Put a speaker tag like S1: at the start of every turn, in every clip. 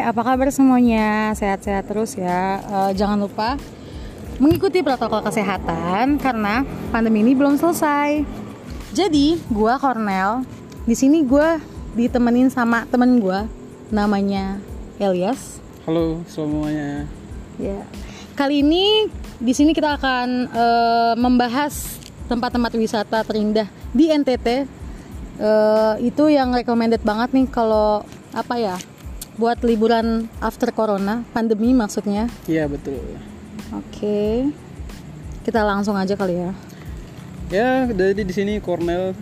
S1: apa kabar semuanya? Sehat-sehat terus ya. Eh, jangan lupa mengikuti protokol kesehatan karena pandemi ini belum selesai. Jadi, gua Cornel. Di sini gua ditemenin sama temen gua namanya Elias.
S2: Halo semuanya.
S1: Ya. Kali ini di sini kita akan eh, membahas tempat-tempat wisata terindah di NTT. Eh, itu yang recommended banget nih kalau apa ya? Buat liburan after corona, pandemi maksudnya.
S2: Iya betul.
S1: Oke. Kita langsung aja kali ya.
S2: Ya jadi di sini Cornell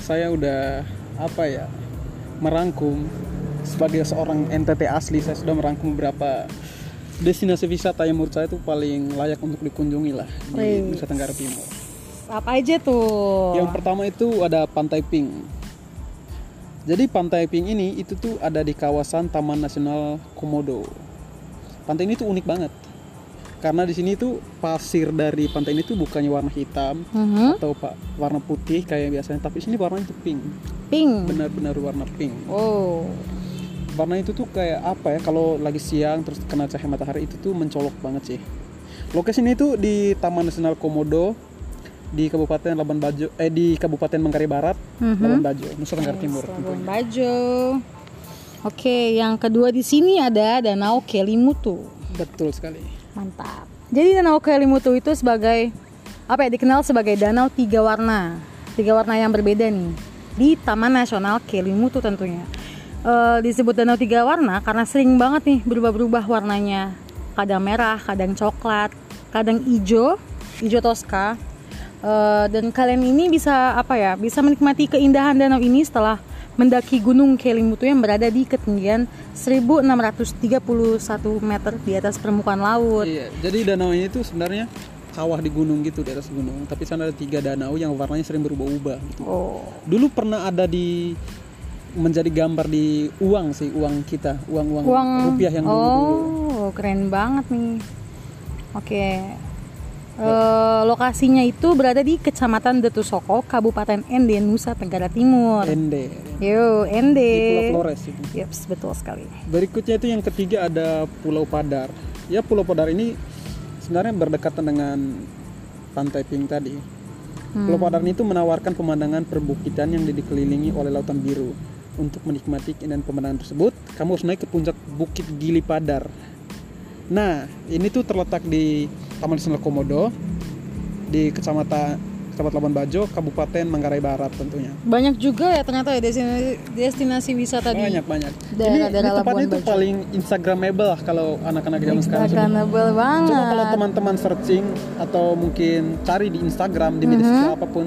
S2: saya udah apa ya merangkum sebagai seorang NTT asli saya sudah merangkum beberapa destinasi wisata yang menurut saya itu paling layak untuk dikunjungi lah di
S1: Wih.
S2: Nusa Tenggara Timur.
S1: Apa aja tuh?
S2: Yang pertama itu ada Pantai Pink. Jadi Pantai Pink ini itu tuh ada di kawasan Taman Nasional Komodo. Pantai ini tuh unik banget. Karena di sini tuh pasir dari pantai ini tuh bukannya warna hitam
S1: Mhm.
S2: atau pak warna putih kayak biasanya, tapi sini warnanya tuh pink.
S1: Pink.
S2: Benar-benar warna pink.
S1: Oh.
S2: Warna itu tuh kayak apa ya? Kalau lagi siang terus kena cahaya matahari itu tuh mencolok banget sih. Lokasi ini tuh di Taman Nasional Komodo di Kabupaten Labuan Bajo eh di Kabupaten Manggarai Barat
S1: Mhm. Oh,
S2: Labuan Bajo, Nusa Tenggara Timur.
S1: Labuan Bajo. Oke, yang kedua di sini ada Danau Kelimutu.
S2: Betul sekali.
S1: Mantap. Jadi Danau Kelimutu itu sebagai apa ya dikenal sebagai danau tiga warna, tiga warna yang berbeda nih di Taman Nasional Kelimutu tentunya. Eh, disebut danau tiga warna karena sering banget nih berubah-berubah warnanya. Kadang merah, kadang coklat, kadang ijo, ijo toska. Eh, dan kalian ini bisa apa ya? Bisa menikmati keindahan danau ini setelah mendaki Gunung Kelimutu yang berada di ketinggian 1631 meter di atas permukaan laut.
S2: Iya, jadi danau ini tuh sebenarnya kawah di gunung gitu di atas gunung, tapi sana ada tiga danau yang warnanya sering berubah-ubah gitu.
S1: Oh.
S2: Dulu pernah ada di menjadi gambar di uang sih, uang kita, uang-uang
S1: uang
S2: rupiah yang dulu.
S1: oh keren banget nih oke Eh, lokasinya itu berada di Kecamatan Detusoko, Kabupaten Ende, Nusa Tenggara Timur.
S2: Ende
S1: Yo, Ende.
S2: Iya. di Pulau Flores itu.
S1: Yeps, betul sekali.
S2: Berikutnya itu yang ketiga ada Pulau Padar. Ya Pulau Padar ini sebenarnya berdekatan dengan Pantai Pink tadi. Pulau Padar itu menawarkan pemandangan perbukitan yang dikelilingi oleh lautan biru. Untuk menikmati keindahan pemandangan tersebut, kamu harus naik ke puncak Bukit Gili Padar. Nah, ini tuh terletak di Taman Nasional Komodo di Kecamatan Kecamatan Labuan Bajo, Kabupaten Manggarai Barat tentunya.
S1: Banyak juga ya ternyata ya destinasi, destinasi wisata di
S2: banyak banyak ini,
S1: daerah-daerah
S2: ini tempatnya
S1: Labuan
S2: itu
S1: Bajo.
S2: paling instagramable lah kalau anak-anak zaman sekarang sebut.
S1: Instagramable banget.
S2: coba kalau teman-teman searching atau mungkin cari di Instagram di media
S1: Mhm.
S2: sosial apapun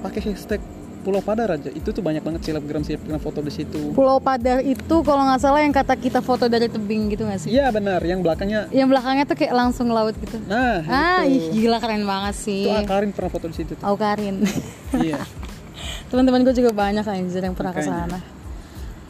S2: pakai hashtag Pulau Padar aja itu tuh banyak banget selebgram selebgram foto di situ
S1: Pulau Padar itu kalau nggak salah yang kata kita foto dari tebing gitu nggak sih?
S2: iya benar yang belakangnya
S1: Yang belakangnya tuh kayak langsung laut gitu.
S2: nah
S1: Ah, iya. ih,
S2: itu
S1: gila keren banget sih.
S2: itu Ah Karin pernah foto di situ tuh.
S1: Aku Karin.
S2: iya
S1: Teman-teman gue juga banyak anjir yang pernah ke
S2: Makanya.
S1: sana.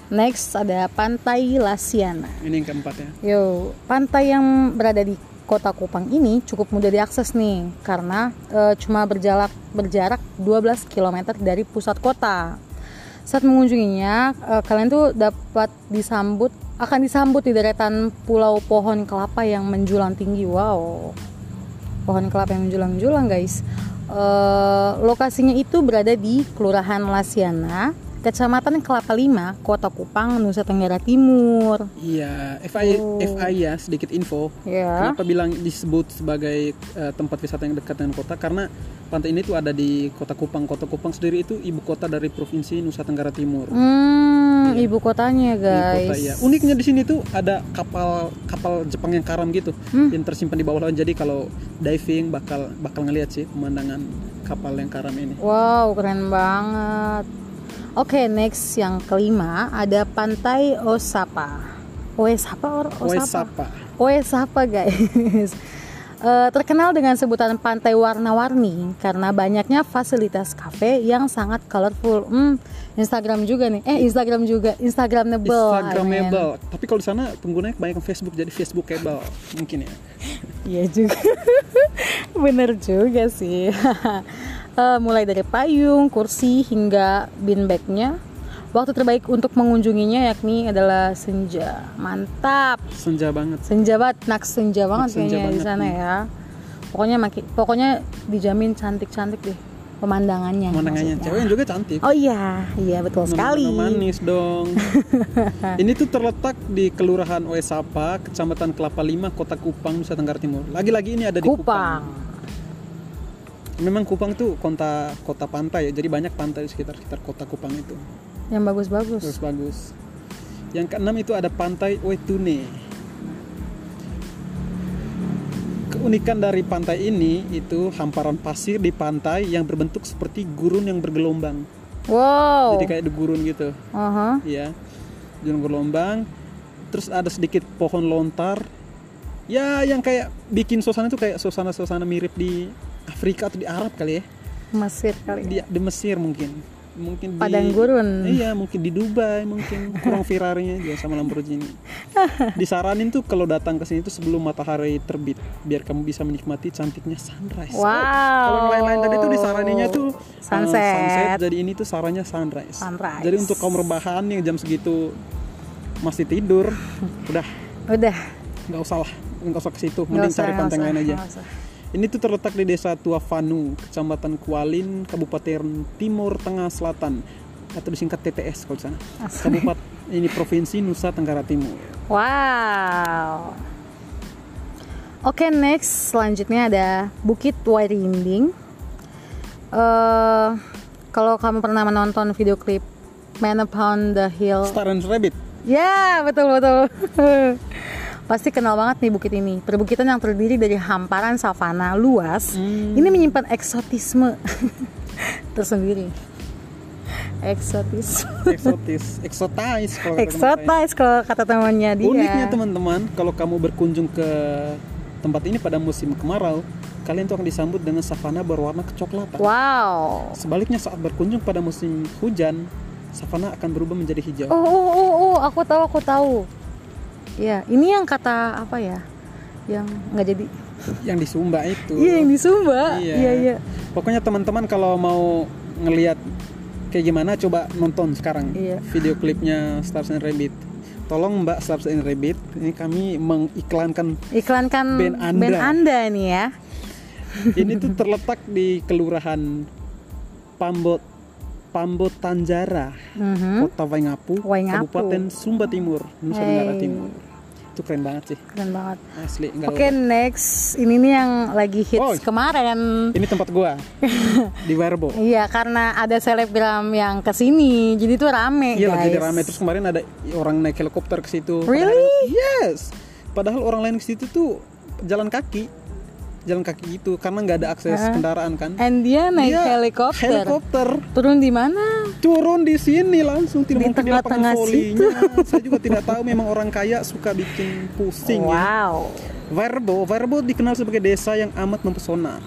S1: Next ada Pantai Lasiana.
S2: ini yang keempat ya
S1: Yo, pantai yang berada di Kota Kupang ini cukup mudah diakses nih karena eh, cuma berjarak berjarak 12 km dari pusat kota. Saat mengunjunginya, eh, kalian tuh dapat disambut akan disambut di deretan pulau pohon kelapa yang menjulang tinggi. Wow. Pohon kelapa yang menjulang-julang, guys. Eh, lokasinya itu berada di Kelurahan Lasiana, Kecamatan Kelapa Lima, Kota Kupang, Nusa Tenggara Timur.
S2: iya FI
S1: Oh.
S2: FI ya sedikit info
S1: Ya.
S2: Kenapa bilang disebut sebagai eh, tempat wisata yang dekat dengan kota? Karena pantai ini tuh ada di Kota Kupang. Kota Kupang sendiri itu ibu kota dari provinsi Nusa Tenggara Timur.
S1: Hmm,
S2: Iya.
S1: ibu kotanya
S2: Ibu
S1: guys.
S2: kota, iya. Uniknya di sini tuh ada kapal kapal Jepang yang karam gitu
S1: Hmm.
S2: yang tersimpan di bawah laut. Jadi kalau diving bakal bakal ngeliat sih pemandangan kapal yang karam ini.
S1: Wow, keren banget. Oke, next yang kelima ada Pantai Osapa. Oesapa or Osapa?
S2: Waisapa.
S1: Oesapa guys. Eh, terkenal dengan sebutan pantai warna-warni karena banyaknya fasilitas kafe yang sangat colorful. Hmm, Instagram juga nih. Eh, Instagram juga. Instagramable. I mean.
S2: Instagramable. Tapi kalau di sana penggunanya kebanyakan Facebook jadi Facebookable mungkin ya.
S1: Iya juga, bener juga sih. Eh, mulai dari payung, kursi hingga beanbagnya, Waktu terbaik untuk mengunjunginya yakni adalah senja. Mantap.
S2: Senja banget.
S1: Senja banget, nak senja banget
S2: senja
S1: kayaknya di
S2: banget,
S1: sana
S2: iya.
S1: ya. Pokoknya maki, pokoknya dijamin cantik-cantik deh pemandangannya. maksudnya.
S2: Pemandangannya cewek juga cantik.
S1: Oh iya, iya betul sekali.
S2: Menu-menu manis dong. Ini tuh terletak di Kelurahan Oesapa, Kecamatan Kelapa Lima, Kota Kupang, Nusa Tenggara Timur. Lagi-lagi ini ada di
S1: Kupang.
S2: Kupang. Memang Kupang tuh kota kota pantai ya, jadi banyak pantai di sekitar-sekitar kota Kupang itu.
S1: Yang bagus-bagus.
S2: Terus bagus. Yang keenam itu ada Pantai Wetune. Keunikan dari pantai ini itu hamparan pasir di pantai yang berbentuk seperti gurun yang bergelombang.
S1: Wow.
S2: Jadi kayak di gurun gitu.
S1: Aha.
S2: ya Gunung berlombang terus ada sedikit pohon lontar ya yang kayak bikin suasana itu kayak suasana-suasana mirip di Afrika atau di Arab kali ya
S1: Mesir kali. ya.
S2: di, di Mesir mungkin mungkin di-
S1: Iya. Padang gurun.
S2: iya mungkin di Dubai mungkin kurang Ferrarinya aja sama Lamborghini disaranin tuh kalau datang ke sini tuh sebelum matahari terbit biar kamu bisa menikmati cantiknya sunrise
S1: Wow.
S2: kalau yang lain-lain tadi tuh disaraninnya tuh uh,
S1: Oh, Sunset.
S2: Jadi ini tuh sarannya sunrise.
S1: Sunrise.
S2: Jadi untuk kaum rebahan yang jam segitu masih tidur, udah
S1: Udah.
S2: nggak usah lah, nggak usah ke situ,
S1: nggak
S2: mending
S1: usah,
S2: cari
S1: nggak
S2: pantai
S1: usah,
S2: lain aja.
S1: nggak usah.
S2: Ini tuh terletak di Desa Tua Fanu, Kecamatan Kualin, Kabupaten Timur Tengah Selatan atau disingkat TTS kalau di sana. Kabupaten ini provinsi Nusa Tenggara Timur.
S1: Wow. Oke next selanjutnya ada Bukit Wairinding. eh kalau kamu pernah menonton video klip Man Upon the Hill,
S2: Star and Rabbit.
S1: ya betul betul. Pasti kenal banget nih bukit ini. Perbukitan yang terdiri dari hamparan savana luas.
S2: Hmm.
S1: Ini menyimpan eksotisme tersendiri. Eksotis,
S2: Eksotis, eksotis kalau kata teman saya.
S1: eksotis kalau kata temannya dia.
S2: Uniknya teman-teman, kalau kamu berkunjung ke tempat ini pada musim kemarau, kalian tuh akan disambut dengan savana berwarna kecoklatan.
S1: Wow.
S2: Sebaliknya saat berkunjung pada musim hujan, savana akan berubah menjadi hijau.
S1: Oh, oh, oh, oh, aku tahu, aku tahu. Ya, ini yang kata apa ya? Yang nggak jadi.
S2: Yang di Sumba itu.
S1: Iya, yang di Sumba.
S2: Iya.
S1: Iya, iya.
S2: Pokoknya teman-teman kalau mau ngelihat kayak gimana coba nonton sekarang
S1: Iya.
S2: video klipnya Stars and Rabbit. Tolong Mbak Stars and Rabbit, ini kami mengiklankan
S1: Iklankan
S2: Band Anda.
S1: nih ya.
S2: Ini tuh terletak di Kelurahan Pambot Pambot Tanjara,
S1: Mhm.
S2: Kota Waingapu,
S1: Waingapu.
S2: Kabupaten Sumba Timur,
S1: Hey.
S2: Nusa Tenggara Timur. Itu keren banget sih,
S1: Keren banget.
S2: asli. nggak
S1: Oke,
S2: lupa.
S1: next. Ini nih yang lagi hits
S2: Oh.
S1: kemarin.
S2: Ini tempat gua di Werbo.
S1: Iya, karena ada selebgram yang kesini, jadi tuh rame
S2: Iya
S1: guys.
S2: lagi ada rame terus kemarin ada orang naik helikopter ke situ.
S1: Really?
S2: Padahal- yes. Padahal orang lain ke situ tuh jalan kaki, jalan kaki gitu karena nggak ada akses kendaraan kan.
S1: And dia naik
S2: Iya,
S1: helikopter.
S2: Helikopter
S1: Turun di mana?
S2: turun di sini langsung tidak
S1: Di
S2: mungkin di
S1: tengah-tengah
S2: lapangan volinya. Saya juga tidak tahu memang orang kaya suka bikin pusing ya.
S1: Wow.
S2: Verbo, Verbo dikenal sebagai desa yang amat mempesona.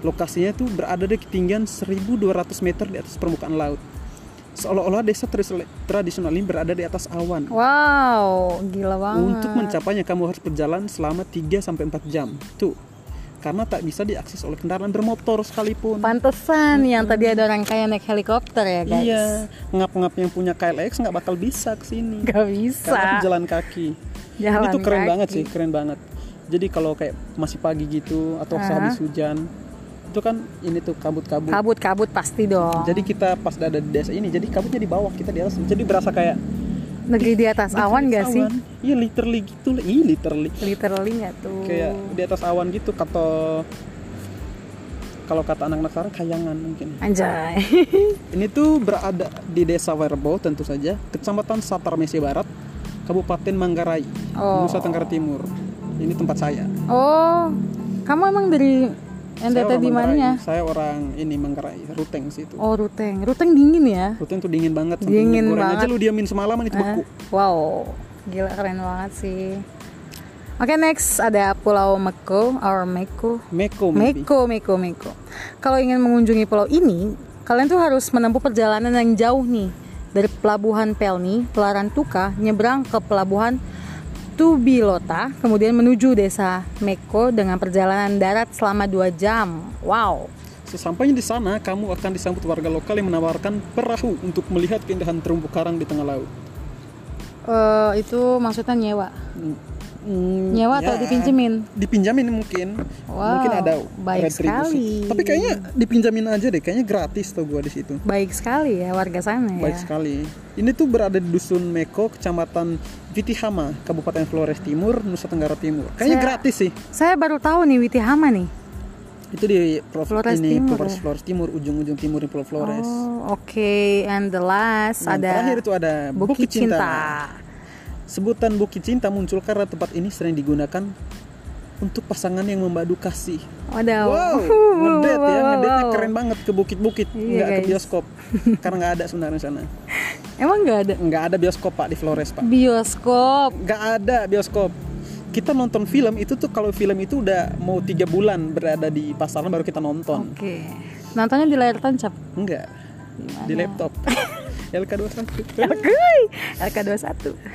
S2: Lokasinya tuh berada di ketinggian 1200 meter di atas permukaan laut. Seolah-olah desa tris- tradisional ini berada di atas awan.
S1: Wow, gila banget.
S2: Untuk mencapainya kamu harus berjalan selama 3 sampai 4 jam. Tuh. Karena tak bisa diakses oleh kendaraan bermotor sekalipun.
S1: Pantesan yang tadi ada orang kaya naik helikopter ya guys.
S2: Iya, ngap-ngap yang punya KLX nggak bakal bisa ke sini.
S1: Gak bisa.
S2: Karena harus jalan kaki.
S1: Jalan
S2: itu keren
S1: kaki.
S2: banget sih keren banget jadi kalau kayak masih pagi gitu atau
S1: Ah.
S2: sehabis hujan itu kan ini tuh kabut-kabut
S1: Kabut-kabut pasti dong.
S2: jadi kita pas ada di desa ini jadi kabutnya di bawah kita di atas jadi berasa kayak
S1: negeri di atas awan
S2: di
S1: gak sih?
S2: awan. iya literally gitu iya literally
S1: Literally gak tuh.
S2: kayak di atas awan gitu kata kalau kata anak-anak sekarang kayangan mungkin
S1: Anjay.
S2: ini tuh berada di desa Werbo tentu saja kecamatan Satar Mesi Barat Kabupaten Manggarai
S1: Oh.
S2: Nusa Tenggara Timur ini tempat saya
S1: Oh, kamu emang dari
S2: Saya
S1: NTT
S2: orang
S1: di mananya?
S2: Manggarai. Saya orang ini Manggarai, Ruteng situ.
S1: Oh, Ruteng. Ruteng dingin ya?
S2: Ruteng tuh dingin banget. sampai
S1: Dingin
S2: minyak goreng
S1: banget. Ah.
S2: aja lu diamin semalaman itu beku.
S1: Wow, gila keren banget sih. Oke next ada Pulau Meko or Meko.
S2: Meko,
S1: Oh,
S2: maybe.
S1: Meko, Meko, Meko. Kalau ingin mengunjungi pulau ini, kalian tuh harus menempuh perjalanan yang jauh nih dari pelabuhan Pelni, Pelaran Tuka, nyebrang ke pelabuhan Tubilota, kemudian menuju desa Meko dengan perjalanan darat selama 2 jam. Wow.
S2: Sesampainya di sana, kamu akan disambut warga lokal yang menawarkan perahu untuk melihat keindahan terumbu karang di tengah laut.
S1: Eh, itu maksudnya nyewa
S2: Mm,
S1: nyewa atau
S2: Hmm. ya,
S1: dipinjemin
S2: Dipinjamin mungkin.
S1: Wow,
S2: mungkin ada
S1: baik sekali.
S2: retribusi. Tapi kayaknya dipinjamin aja deh, kayaknya gratis tuh gua di situ.
S1: baik sekali ya warga sana
S2: Baik
S1: ya
S2: sekali. Ini tuh berada di dusun Meko, kecamatan Vitihama, Kabupaten Flores Timur, Nusa Tenggara Timur. Kayaknya
S1: Saya-
S2: gratis sih.
S1: saya baru tahu nih Witi Hama nih
S2: Itu di Pro-
S1: Flores
S2: ini
S1: Timur
S2: Flores,
S1: ya?
S2: Flores Timur, ujung-ujung timur di Pulau Flores.
S1: oh oke and the last
S2: Dan
S1: ada
S2: terakhir itu ada
S1: Bukit
S2: Bukit, Cinta.
S1: Cinta.
S2: Sebutan Bukit Cinta muncul karena tempat ini sering digunakan untuk pasangan yang memadu kasih.
S1: Wadaw.
S2: Wow, ngedate ya,
S1: Oh. wow,
S2: ngedate
S1: wow.
S2: keren banget ke bukit-bukit,
S1: Iya,
S2: nggak ke
S1: guys.
S2: bioskop, karena nggak ada sebenarnya di sana.
S1: Emang nggak ada
S2: Nggak ada bioskop pak di Flores pak.
S1: bioskop?
S2: nggak ada bioskop kita nonton film itu tuh kalau film itu udah mau tiga bulan berada di pasaran baru kita nonton
S1: Oke. Nontonnya di layar tancap.
S2: enggak di laptop LK21
S1: Kuy, LK21.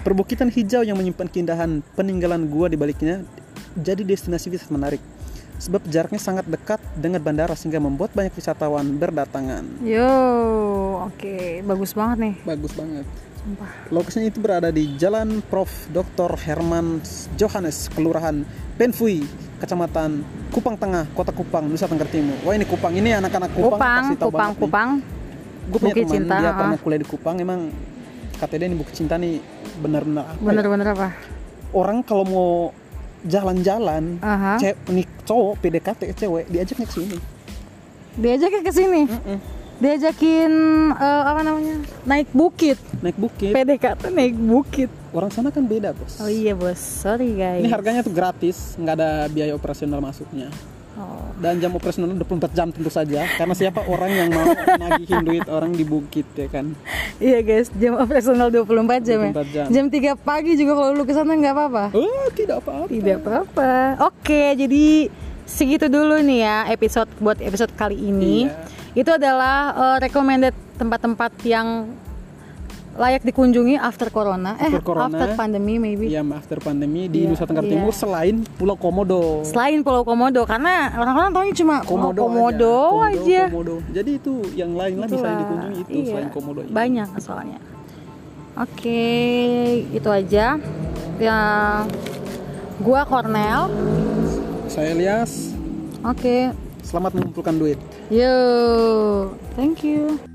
S2: perbukitan hijau yang menyimpan keindahan peninggalan gua di baliknya jadi destinasi wisata menarik sebab jaraknya sangat dekat dengan bandara sehingga membuat banyak wisatawan berdatangan
S1: Yo, oke, bagus banget nih.
S2: bagus banget
S1: Sumpah.
S2: Lokasinya itu berada di Jalan Prof. Dr. Herman Johannes, Kelurahan Penfui, Kecamatan Kupang Tengah, Kota Kupang, Nusa Tenggara Timur. Wah ini Kupang, ini anak-anak Kupang,
S1: Kupang,
S2: pasti tahu
S1: Kupang,
S2: banget nih.
S1: Kupang.
S2: Gue punya
S1: Bukit
S2: teman,
S1: Cinta,
S2: dia
S1: ah.
S2: pernah kuliah di Kupang, emang katanya dia ini Bukit Cinta nih benar-benar apa ya?
S1: Bener-bener apa?
S2: Orang kalau mau jalan-jalan,
S1: Aha.
S2: cewek nih cowok PDKT cewek diajaknya ke sini.
S1: Diajakin ke sini.
S2: Mm-mm.
S1: Diajakin eh, apa namanya? Naik bukit.
S2: Naik bukit.
S1: PDKT naik bukit.
S2: Orang sana kan beda, Bos.
S1: Oh iya, Bos. Sorry, guys.
S2: Ini harganya tuh gratis, nggak ada biaya operasional masuknya.
S1: Oh.
S2: dan jam operasional 24 jam tentu saja karena siapa orang yang mau nagihin duit orang di bukit ya kan
S1: Iya, guys. Jam operasional 24 jam ya.
S2: 24 jam.
S1: Jam 3 pagi juga kalau lu ke sana nggak apa-apa.
S2: oh tidak apa-apa
S1: Tidak apa-apa. Oke, jadi segitu dulu nih ya episode buat episode kali ini.
S2: Iya.
S1: Itu adalah eh, recommended tempat-tempat yang layak dikunjungi after corona, eh
S2: After corona.
S1: after pandemi maybe.
S2: ya after pandemi di
S1: Iya,
S2: Nusa Tenggara
S1: iya.
S2: Timur selain Pulau Komodo
S1: Selain Pulau Komodo karena orang-orang tahu cuma Komodo, Oh, Komodo
S2: aja. Komodo,
S1: aja.
S2: Komodo. jadi itu yang lain lah bisa
S1: Itulah,
S2: dikunjungi itu
S1: iya.
S2: selain Komodo ini.
S1: Banyak soalnya. Oke, itu aja. Ya gua Cornel.
S2: saya Elias
S1: Oke.
S2: selamat mengumpulkan duit
S1: Yo, thank you.